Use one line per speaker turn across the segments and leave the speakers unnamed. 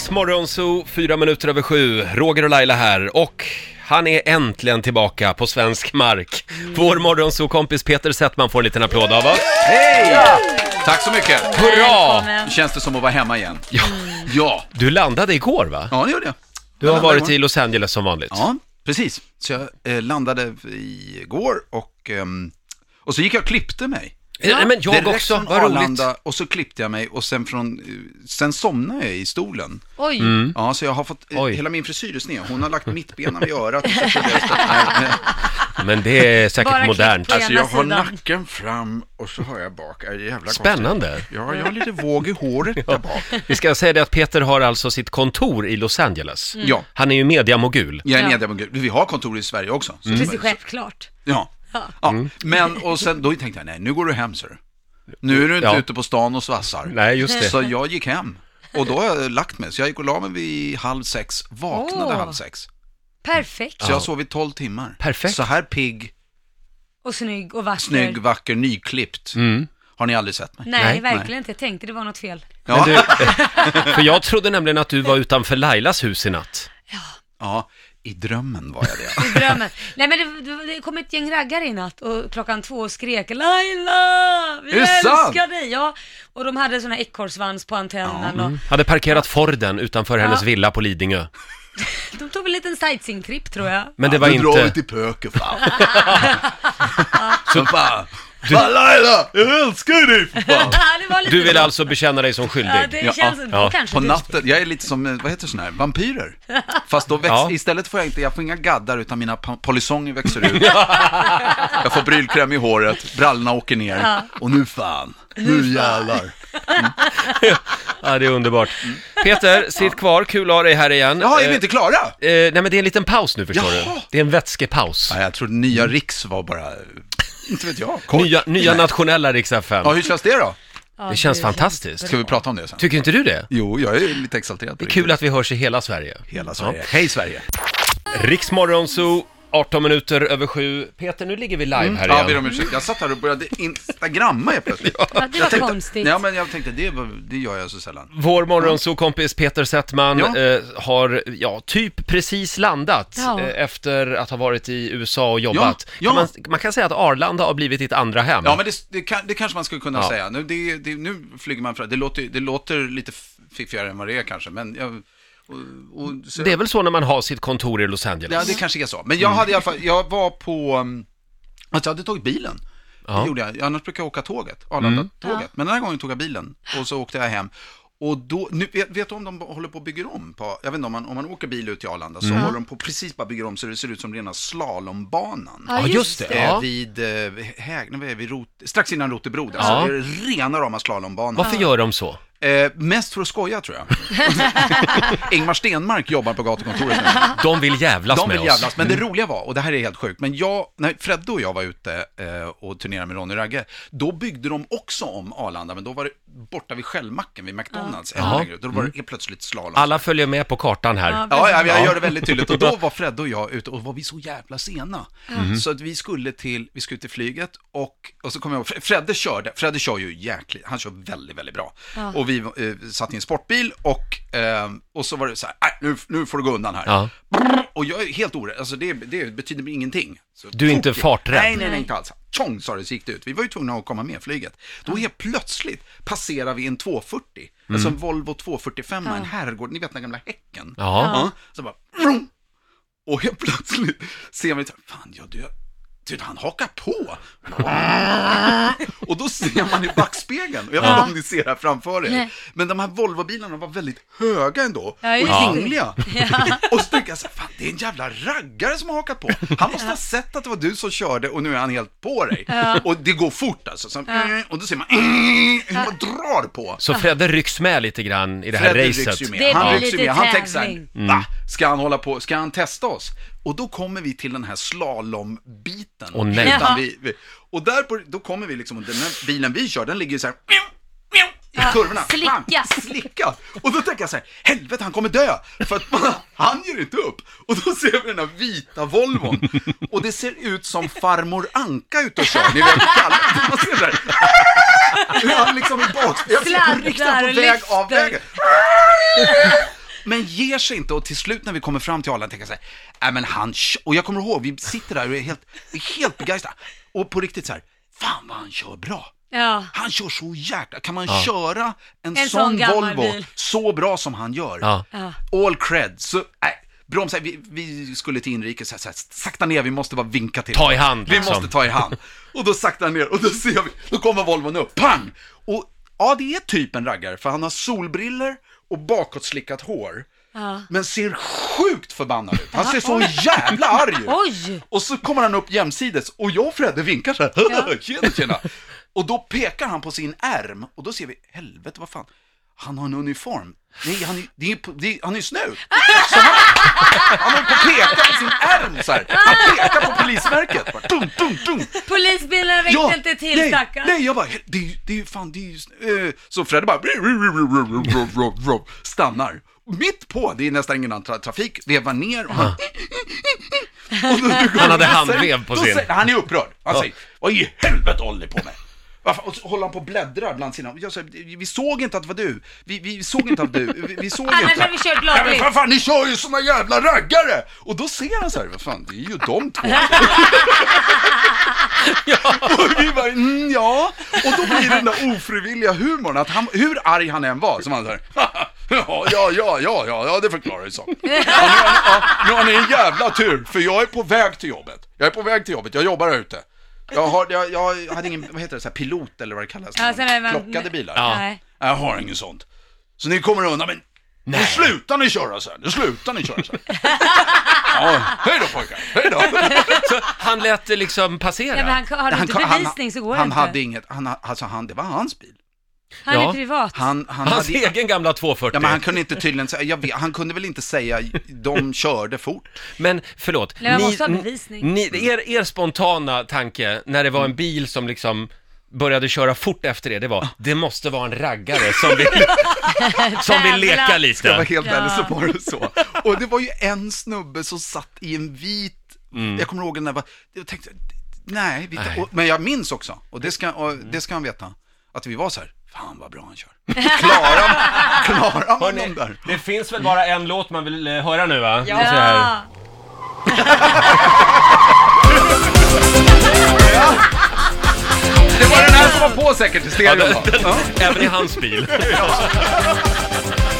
Riksmorgonzoo, fyra minuter över sju. Roger och Laila här och han är äntligen tillbaka på svensk mark. Vår morgonzoo-kompis Peter Settman får en liten applåd av oss.
Tack så mycket.
Hurra!
Nu känns det som att vara hemma igen. Ja. Ja,
Du landade igår va?
ja det gjorde jag.
Du har varit i Los Angeles som vanligt.
Ja, precis. Så jag eh, landade igår och, ehm, och så gick jag och klippte mig.
Eh, Nej, men jag
Direkt
också,
från
vad roligt.
Arlanda och så klippte jag mig och sen från, eh, sen somnade jag i stolen.
Oj,
Ja, så jag har fått, eh,
Mm. Oj.
hela min frisyr är sned. Hon har lagt mittbenan vid örat. och så trodde jag stött- Nej, nej.
Men det är säkert
Bara
modernt.
klipp på
Alltså jag
ena
har
sidan.
nacken fram och så har jag bak. Äh, Jävla konstigt.
Spännande.
Ja, jag har lite våg i håret där bak.
Vi ska säga det att Peter har alltså sitt kontor i Los Angeles.
Mm. Ja.
Han är ju mediamogul.
Jag är
Ja. Mm.
mediamogul. Vi har kontor i Sverige också. Så
precis självklart.
Ja. ja.
Mm.
Men och sen då tänkte jag, nej nu går du hem ser du. Nu är du inte
Ja.
ute på stan och svassar.
Nej, just det.
Så jag gick hem. Och då har jag lagt mig. Så jag gick och la mig vid halv sex, vaknade
Åh.
halv sex.
Perfekt.
Så jag sov i tolv timmar.
Perfekt.
Så här pigg,
Och snygg och vacker.
snygg, vacker, nyklippt.
Mm.
Har ni aldrig sett mig?
Nej,
Nej.
verkligen inte. Jag tänkte det var något fel.
Ja,
Du, eh, för jag trodde nämligen att du var utanför Lailas hus i natt.
ja, i drömmen var jag det.
I drömmen. Nej men det, det- det kom ett gäng raggare i natt och klockan två skrek Laila, vi
Är det
älskar
sant?
dig! Ja, och de hade sån här ekorrsvans på antennen och
Hade parkerat Forden utanför hennes
Ja.
villa på Lidingö.
de tog en liten sightseeing-tripp tror jag.
Men det var
nu drar vi
inte...
till Pöke fan. Så fan. Fan Laila, jag älskar dig för fan.
det var lite
Du vill
så.
alltså bekänna dig som
Ja,
skyldig?
det känns...
Ja.
Ja. Kanske
På
du-
natten, jag är lite som, eh, vad heter sådana här, vampyrer. Fast då växer,
Ja.
istället får jag inte, jag får inga gaddar utan mina pa- polisonger växer ut. jag får brylkräm i håret, brallorna åker ner. Och nu fan, nu jävlar.
Ja, det är underbart.
Mm.
Peter, sitt kvar. Kul att ha dig här igen.
Jaha, är
Eh,
vi inte klara?
eh, nej, men det är en liten paus nu, förstår
Jaha.
du. Det är en vätskepaus.
Ja, jag trodde nya Riks var bara, inte vet jag, kort.
Nya, nya nationella riks FM.
Ja, hur känns det då?
Ja,
Det känns fantastiskt.
Ska vi prata om det sen?
Tycker inte du det?
Jo, jag är lite exalterad.
Det är kul att vi hörs i hela Sverige.
Hela Sverige. Hej Sverige.
Riksmorgon Zoo, 18 minuter över sju. Peter, nu ligger vi live här
Mm. Ja, ber
igen.
om ursäkt. Jag satt här och började instagramma helt plötsligt.
Ja, det var
Jag tänkte,
konstigt.
Ja, men jag tänkte, det, var- det gör jag så sällan.
Vår morgonsokompis Peter Settman
Ja.
eh, har, ja, typ precis landat
Ja.
eh, efter att ha varit i USA och jobbat.
Ja, ja.
Kan man, man kan säga att Arlanda har blivit ditt andra hem.
Ja, men det, det, kan, det kanske man skulle kunna
Ja.
säga. Nu, det, det, nu flyger man fram. Det låter, det låter lite f- fiffigare än vad det är kanske, men jag, och, och, så,
Det
det,
är väl så när man har sitt kontor i Los Angeles?
ja, det kanske är så. Men
Mm.
jag hade i alla fall, jag var på, um, alltså jag hade tagit bilen.
Ja. Mm.
Det gjorde jag. Annars brukar jag åka tåget, Arlanda-tåget. Men den här gången tog jag bilen och så åkte jag hem. Och då, nu, vet, vet du om de håller på att bygga om? På, jag vet inte, om man, om man åker bil ut till Arlanda så
Mm.
håller de på precis bara bygger om så det ser ut som rena slalombanan.
Ja, just det.
Ja.
Eh, Vid, eh, Häg, nej, vad är vi? Rot, strax innan Rotebro, där.
Ja.
så det är rena rama slalombanan.
Varför gör de så?
Eh, mest för att skoja tror jag. Ingmar Stenmark jobbar på gatukontoret nu.
De vill jävlas
De
med
vill
oss. Mm.
jävlas, men det roliga var, och det här är helt sjukt, men jag, när Fredde och jag var ute eh, och turnerade med Ronny Ragge, då byggde de också om Arlanda, men då var det borta vid Shellmacken, vid McDonalds, ännu
Jaha.
längre ut. Då var det helt plötsligt slalom.
Mm. Alla följer med på kartan här.
Ja.
Ja, ja, jag gör det väldigt tydligt. Och då var Fred och jag ute och var vi så jävla sena.
Mm.
Så att vi skulle till, vi skulle till flyget och, och så kommer jag ihåg, Fre- Fredde körde, Fredde kör ju jäkligt, han kör väldigt, väldigt bra. Och vi eh, satt i en sportbil och, eh, och så var det så här, "Nej, nu, nu får du gå undan här.
Ja.
Och jag är helt orädd, alltså det, det betyder ingenting. Så
Du är inte
tokig.
farträdd.
Nej, nej, nej, inte alls. Tjong sa det, så gick det ut. Vi var ju tvungna att komma med flyget. Då helt plötsligt passerar vi en 240, alltså en Volvo 245, en herrgård, ni vet den gamla häcken.
Ja.
Ja. Så bara, vroom. och helt plötsligt ser man, ju så här, fan jag dör. Du, Typ, han hakar på! Och då ser man i backspegeln, och jag vet inte om ni ser det här framför er,
Nej.
men de här Volvobilarna var väldigt höga ändå,
Ja, just
och
det.
ringliga. Och så tänkte jag så här, fan det är en jävla raggare som har hakat på. Han måste ha sett att det var du som körde och nu är han helt på dig. Och det går fort alltså, så, och då ser man, hur man drar på.
Så Fredde rycks med lite grann i det här
Fredrik rycks ju
racet.
med.
Det
han
blir
rycks ju
lite
med. Han tänker så här,
tävling.
va? Ska han hålla på? Ska han testa oss? Och då kommer vi till den här slalombiten.
Åh, nej.
Ja.
Utan vi, vi, och där på, då kommer vi liksom, och den här bilen vi kör, den ligger ju så här, mjau, mjau, i kurvorna.
slicka.
Bam, slicka. Och då tänker jag så här, helvete han kommer dö. För att man, han ger inte upp. Och då ser vi den här vita Volvon. Och det ser ut som farmor Anka ute och kör. Ni vet, Kalle. Man ser det där. Hur han liksom är bak. Jag ser på
Sladdar
riktigt på
och
väg av
lyfter.
vägen. men ger sig inte och till slut när vi kommer fram till Arlanda tänker jag så här, nej men han, kö-" och jag kommer ihåg, vi sitter där och är helt, är helt begeistrade. Och på riktigt så här, fan vad han kör bra.
Ja.
Han kör så jäkla, kan man köra en,
En sån
sån,
gammal
Volvo
bil.
så bra som han gör?
Ja.
Ja.
All cred, så, nej. Bromsa, vi, vi skulle till inrikes, så här, så här, sakta ner, vi måste bara vinka till.
Ta i hand,
Vi
liksom.
måste ta i hand. Och då saktar han ner och då ser vi, då kommer Volvon upp, pang! Och ja, det är typ en raggare, för han har solbriller och bakåtslickat hår.
Ja.
Men ser sjukt förbannad ut. Han ser så jävla arg ut.
Oj!
Och så kommer han upp jämsides och jag och Fredde vinkar så här.
Ja.
Tjena, tjena. Och då pekar han på sin ärm och då ser vi, helvete vad fan, han har en uniform. Nej, han är, det är, på- det är, han är ju snut. Så han, han håller på att peka på sin ärm så här. Han pekar på polismärket. Bara, dum, dum, dum.
Polisbilen räckte inte till
nej,
stackarn.
nej, jag bara, det är ju, det är ju fan, det är ju, sn- eh, så Fredde bara, "Ruh, ruh, ruh, ruh, ruh, ruh, ruh, ruh", stannar. Mitt på, det är nästan ingen annan tra- trafik, vevar ner och han, och då- då går-
Han hade
då säger-
handvev på
då
sin.
säger- Han är upprörd. Han säger, vad i helvete håller ni på med? Varför? Och så håller han på och bläddrar bland sina, jag säger, vi såg inte att det var du, vi, vi såg inte att du, vi, vi såg inte.
Annars hade vi kört
Ja, men
lagligt.
för fan, ni kör ju såna jävla raggare! Och då ser han så här, vad fan, det är ju de två. Och vi bara, mm, ja. Och då blir det den där ofrivilliga humorn, att han, hur arg han än var, så var han så här, ja, ja, ja, ja, ja, ja, det förklarar ju saken. Ja, nu, har ni- ja, nu har ni en jävla tur, för jag är på väg till jobbet. Jag är på väg till jobbet, jag jobbar här ute. Jag, har, jag, jag hade ingen, vad heter det, så här, pilot eller vad det kallas,
Ja, sen är man-
plockade bilar.
Ja.
Nej.
Jag har inget sånt. Så ni kommer undan, men nu slutar ni köra så här, nu slutar ni köra så här. ja, hej då pojkar, hej då.
Så han lät det liksom passera?
Nej, men han, har du inte bevisning så går det
han
inte.
hade inget, han, ha- alltså han, det var hans bil.
han
Ja.
är privat.
Han, han
Hans
hade,
egen gamla 240.
ja, men han kunde inte tydligen säga, jag vet, han kunde väl inte säga, de körde fort.
Men förlåt,
Nej, man måste ha bevisning.
ni, er, er spontana tanke när det var
Mm.
en bil som liksom började köra fort efter det, det
Ah.
var det måste vara en raggare som vill, som vill leka
Jävlar.
Jag var
lite.
helt
Ja.
ärlig så var det så. Och det var ju en snubbe som satt i en vit, jag kommer ihåg den där, bara- jag tänkte, Mm. nej, vi,
Nej.
Och, men jag minns också, och det ska, och det ska han veta, att vi var så här, fan vad bra han kör. Klarar, klarar man dem där?
det finns väl bara en låt man vill eh, höra nu va?
Ja. Ja.
Det var den här som var på säkert i stereon va? Ja.
Även i hans bil.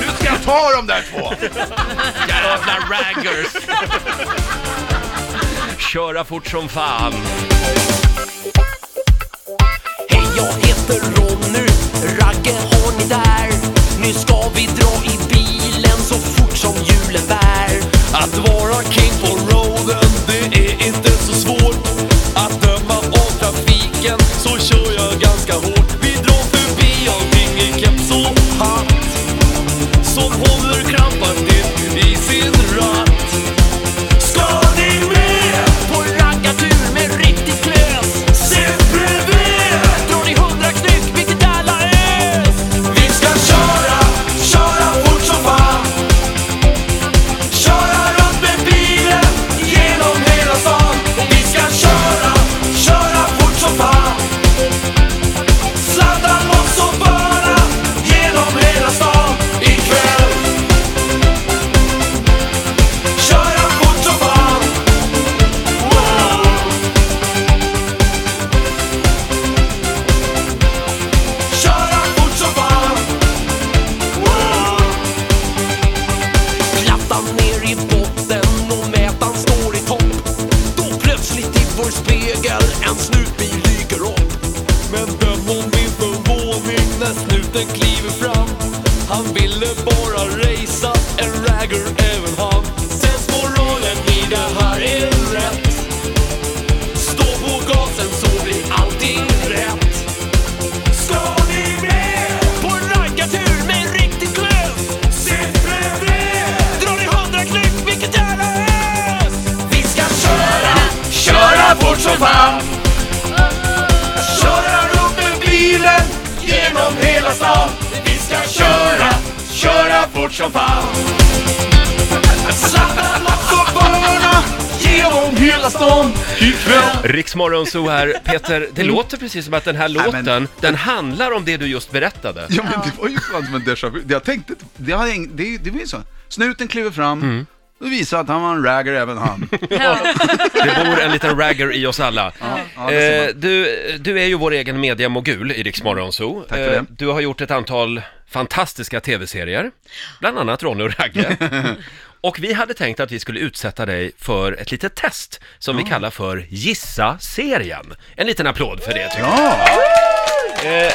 Nu ska jag ta de där två!
Jävla raggers! Köra fort som fan.
Hej, jag heter Ronny, Ragge har ni där? Nu ska vi dra i bilen så fort som hjulen bär. Att vara king på roaden, det är inte så svårt. Att döma av trafiken, så kör jag ganska hårt. Vi drar förbi allting i keps och hatt. Som håller krampaktigt i sin ratt. Ska ni med på raggartur med riktigt klös? Sitt bredvid! Drar ni hundra knyck, vilket alla ös? Vi ska köra, köra fort som fan Köra runt med bilen genom hela stan Och vi ska köra, köra fort som fan Sladda loss och bara genom hela stan ikväll Köra fort som fan wow. Köra fort som fan wow. Plattan ner i botten och mätaren står i topp Då plötsligt i vår spegel en snutbil dyker upp Men döm om min förvåning när snuten kliver fram Han ville bara racea, en ragger även han Sensmoralen i det här är rätt Stå på gasen så blir allting rätt Ska ni med på raggartur med riktigt klös? Sitt bredvid! Drar ni hundra knyck, vilket jävla ös! Vi ska köra, köra fort som fan! Köra upp med bilen genom hela stan Vi ska köra, köra fort som fan Sladda loss och börna genom hela
julafton
stan
ikväll.
Riksmorgon så här, Peter, det låter precis som att den här
Mm. Nej, men-
låten, den handlar om det du just berättade.
Ja, men det var ju fan som en déjà vu. Jag tänkte, inte- det, hade, ing- det, det var ju så. Snuten kliver fram,
Mm.
och visar att han var en ragger även han.
Ja.
Det bor en liten ragger i oss alla.
ja, det ser man.
eh, du, du är ju vår egen mediamogul i Riksmorgon Zoo.
Mm,
Eh,
Tack för det.
du har gjort ett antal fantastiska tv-serier, bland annat Ronny och Ragge. och vi hade tänkt att vi skulle utsätta dig för ett litet test som vi kallar för Gissa-serien. En liten applåd för det tycker jag.
Ja,
Eh,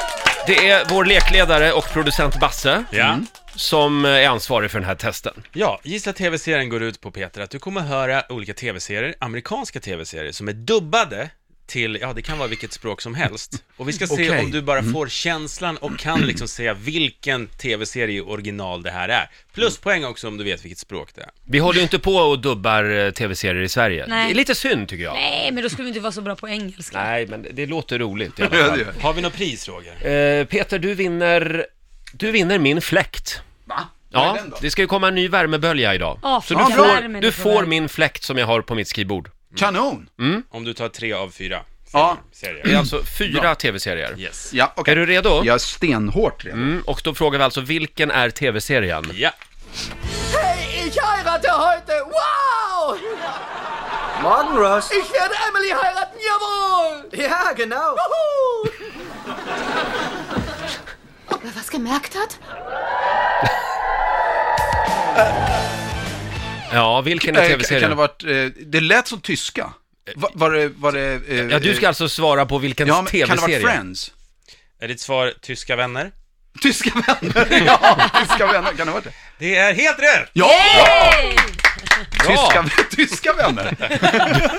det är vår lekledare och producent Basse
Ja.
Mm.
som eh, är ansvarig för den här testen.
ja, gissa tv-serien går ut på Peter att du kommer höra olika tv-serier, amerikanska tv-serier som är dubbade till, ja det kan vara vilket språk som helst. Och vi ska se
Okej. Mm.
om du bara får känslan och kan liksom säga vilken tv-serie i original det här är. Plus poäng också om du vet vilket språk det är.
Vi håller ju inte på och dubbar eh, tv-serier i Sverige.
Nej.
Det är lite synd tycker jag.
Nej, men då skulle vi inte vara så bra på engelska.
Nej, men det- det låter roligt i alla
ja,
fall.
det gör.
Har vi något pris Roger?
Eh, Peter, du vinner, du vinner min fläkt.
Va? Vad
Ja,
är den då?
det ska ju komma en ny värmebölja idag.
Ja,
Så du
fan, vad
får,
värme
du
det
får
får.
min fläkt som jag har på mitt skrivbord.
Kanon!
Mm.
Om du tar tre av fyra
Ja.
Det är
serier.
alltså fyra tv-serier.
Yes.
Ja, okej.
Är du redo?
Jag är stenhårt redan.
Mm, och då frågar vi alltså, vilken är tv-serien?
Ja.
Hey, ich heirate heute. Wow! Morgen, Ross. Ich werde Emily heiraten, jawohl! Ja, genau. Juhu!
Ob er was gemerkt hat?
Ja, vilken är
Eh, kan- Kan det,
tv-serien?
varit, eh, det lät som tyska. Va- Var det... Var det eh,
Ja, du ska
eh,
alltså svara på vilken
ja, men kan det
tv-serie?
varit Friends?
Är ditt svar tyska vänner?
Tyska vänner! Ja, tyska vänner. Kan det ha varit det?
Det är helt rätt!
Ja!
Hey!
Bra!
Tyska, tyska vänner!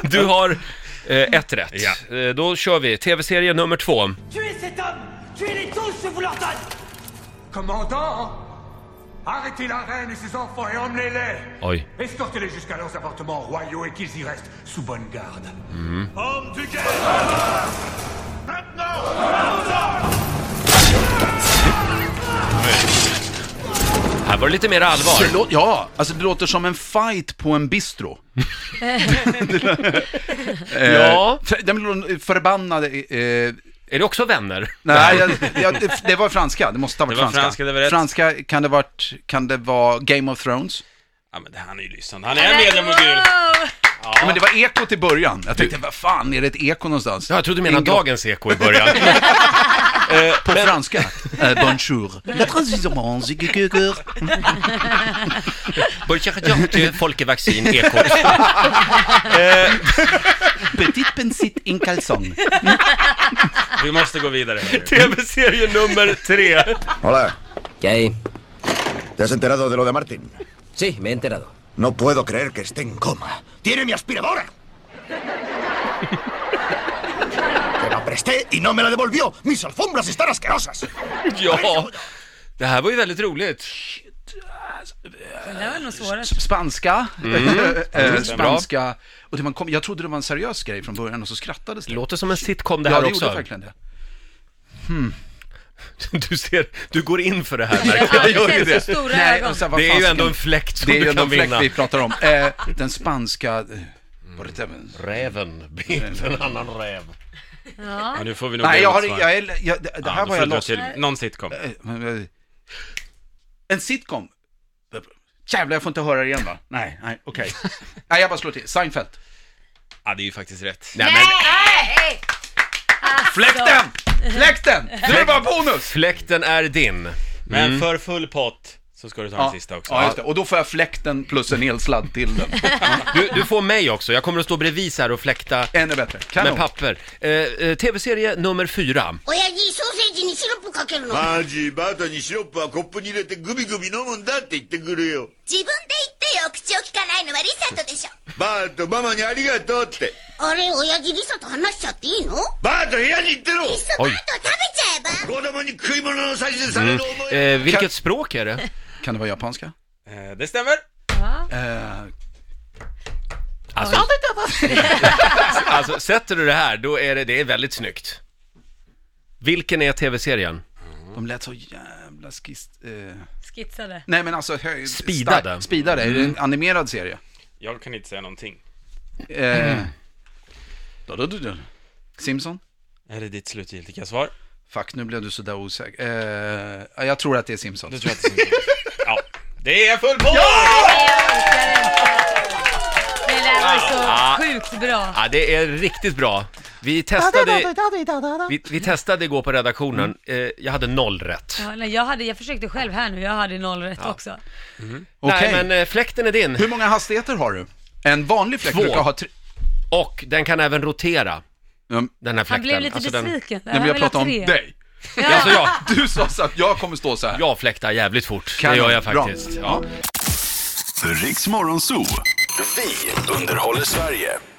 Du har eh, ett rätt.
Ja.
Eh, då kör vi. Tv-serie nummer två.
Tuez cet homme Tuez-les tous, je vous l'ordonne Commandant Arrêtez la reine et ses enfants et emmenez-les
Oj.
Escortez-les jusqu'à leurs appartements royaux et qu'ils y restent sous bonne garde. Hommes du guerre Maintenant
Här var det lite mer
Det
allvar.
lå- ja, alltså det låter som en fight på en bistro. Eh,
Ja.
För- De lå- förbannade... Eh,
Är det också vänner?
nej, jag, jag, det, det var franska. Det måste ha varit
Det var
franska.
franska, det var rätt.
Franska, kan det varit, kan det vara Game of Thrones?
Ja men det- han är ju lyssnande, han är mediamogul!
Wow!
Ja. men det var ekot i början. Jag tänkte, vad fan, är det ett eko någonstans?
Ja, jag trodde du menade
Inglo-
Dagens Eko i början.
På franska. Eh, bonjour. La transition, ziggugur. eh,
Börjar folkevaccin Eko.
Petit pensit in calzong.
Vi måste gå vidare. hörru.
Tv-serie nummer tre.
Hola,
¿Qué hay?
¿te has enterado de lo de Martin?
Sí, me he enterado.
No puedo creer que esté en coma. ¡Tiene mi aspiradora! Te la presté y no me la devolvió. Mis alfombras están asquerosas.
Ja, det här var ju väldigt roligt.
Det där var nog svårast.
Spanska. eh,
stämmer.
spanska. Och det man kom, jag trodde det var en seriös grej från början och så skrattades det.
Låter som en sitcom det
Ja,
här
det gjorde
också.
verkligen det.
Du ser, du går in för det här märker jag.
Jag gör ju det. Stora
Nej,
ögon.
och sen, vad
Det är
fan
ju
ska-
ändå en fläkt som
Det är ju
du
ändå
kan
en fläkt
vinna.
vi pratar om. Eh, den spanska... eh, Var det den?
Räven bet en annan räv.
Ja, nu får vi nog
Nej,
ge
jag
något
har...
svar.
Jag, är- jag, det det
Ja,
här
då
var
får
jag
du dra
lost.
till Någon sitcom.
Eh, men, eh, En sitcom. Jävlar, jag får inte höra det igen va? Nej, nej, okej. nej, jag bara slår till. Seinfeld.
Ja, det är ju faktiskt rätt.
Nej men
Nej!
Fläkten! Fläkten! Nu var bonus!
fläkten är din.
Men för full pott så ska du ta den sista också.
Mm. Ja, just det. Och då får jag fläkten plus en elsladd till den.
Du, du får mig också. Jag kommer att stå bredvid så här och fläkta
Ännu bättre.
med
Kanon.
papper. Eh, eh, Tv-serie nummer fyra.
親父ソーセージにシロップかけるの自分で
Maji, bata ni siropu a kopp ni irete gubi gubi nomunda tte itte kuru yo.
言ってよ口を聞かないのはリサとでしょ
Bata, mama ni arigatou tte.
あれ親父リサと話しちゃっていいの
Bata, buya ni itte ro.
リサバート食べちゃえば
Kodomo ni kuimono no sashi sa reru omoe.
Eh, vilket språk är det?
Kan det vara japanska?
Eh, Det stämmer.
Eh,
Alltså, alltså, sätter du det här, då är det, det är väldigt snyggt. Vilken är tv-serien?
de lät så jävla skist... Eh.
Skitsade.
Nej men alltså höj...
Speedade.
stark- Speedade, är det en animerad serie?
Jag kan inte säga någonting.
Eh, Då, då, då, då. Simpson?
Är det ditt slutgiltiga svar?
Fuck, nu blev du sådär osäker. Eh, ja, jag tror att det är Simpson.
Du tror att det är Simpson? ja, det är full pott!
Det där var så
Ah.
sjukt bra.
Ja, det är riktigt bra. Vi testade, vi, vi testade igår på redaktionen.
Mm.
Eh, Jag hade noll rätt.
Ja, nej, jag, hade, jag försökte själv här nu, jag hade noll rätt också.
Okej.
Nej, men eh, fläkten är din.
Hur många hastigheter har du? En vanlig fläkt
Två.
brukar ha tre...
Och den kan även rotera,
Ja, men-
den här fläkten.
Han blev lite
Alltså, den-
besviken.
Nej, men jag
Han ville
pratar
ha
om
tre.
dig.
Ja.
Alltså, jag,
Du sa så att jag kommer stå så här.
jag fläktar jävligt fort.
Kanon.
Det gör jag
Bra.
faktiskt. Ja.
Riks Morgonzoo. Vi underhåller Sverige.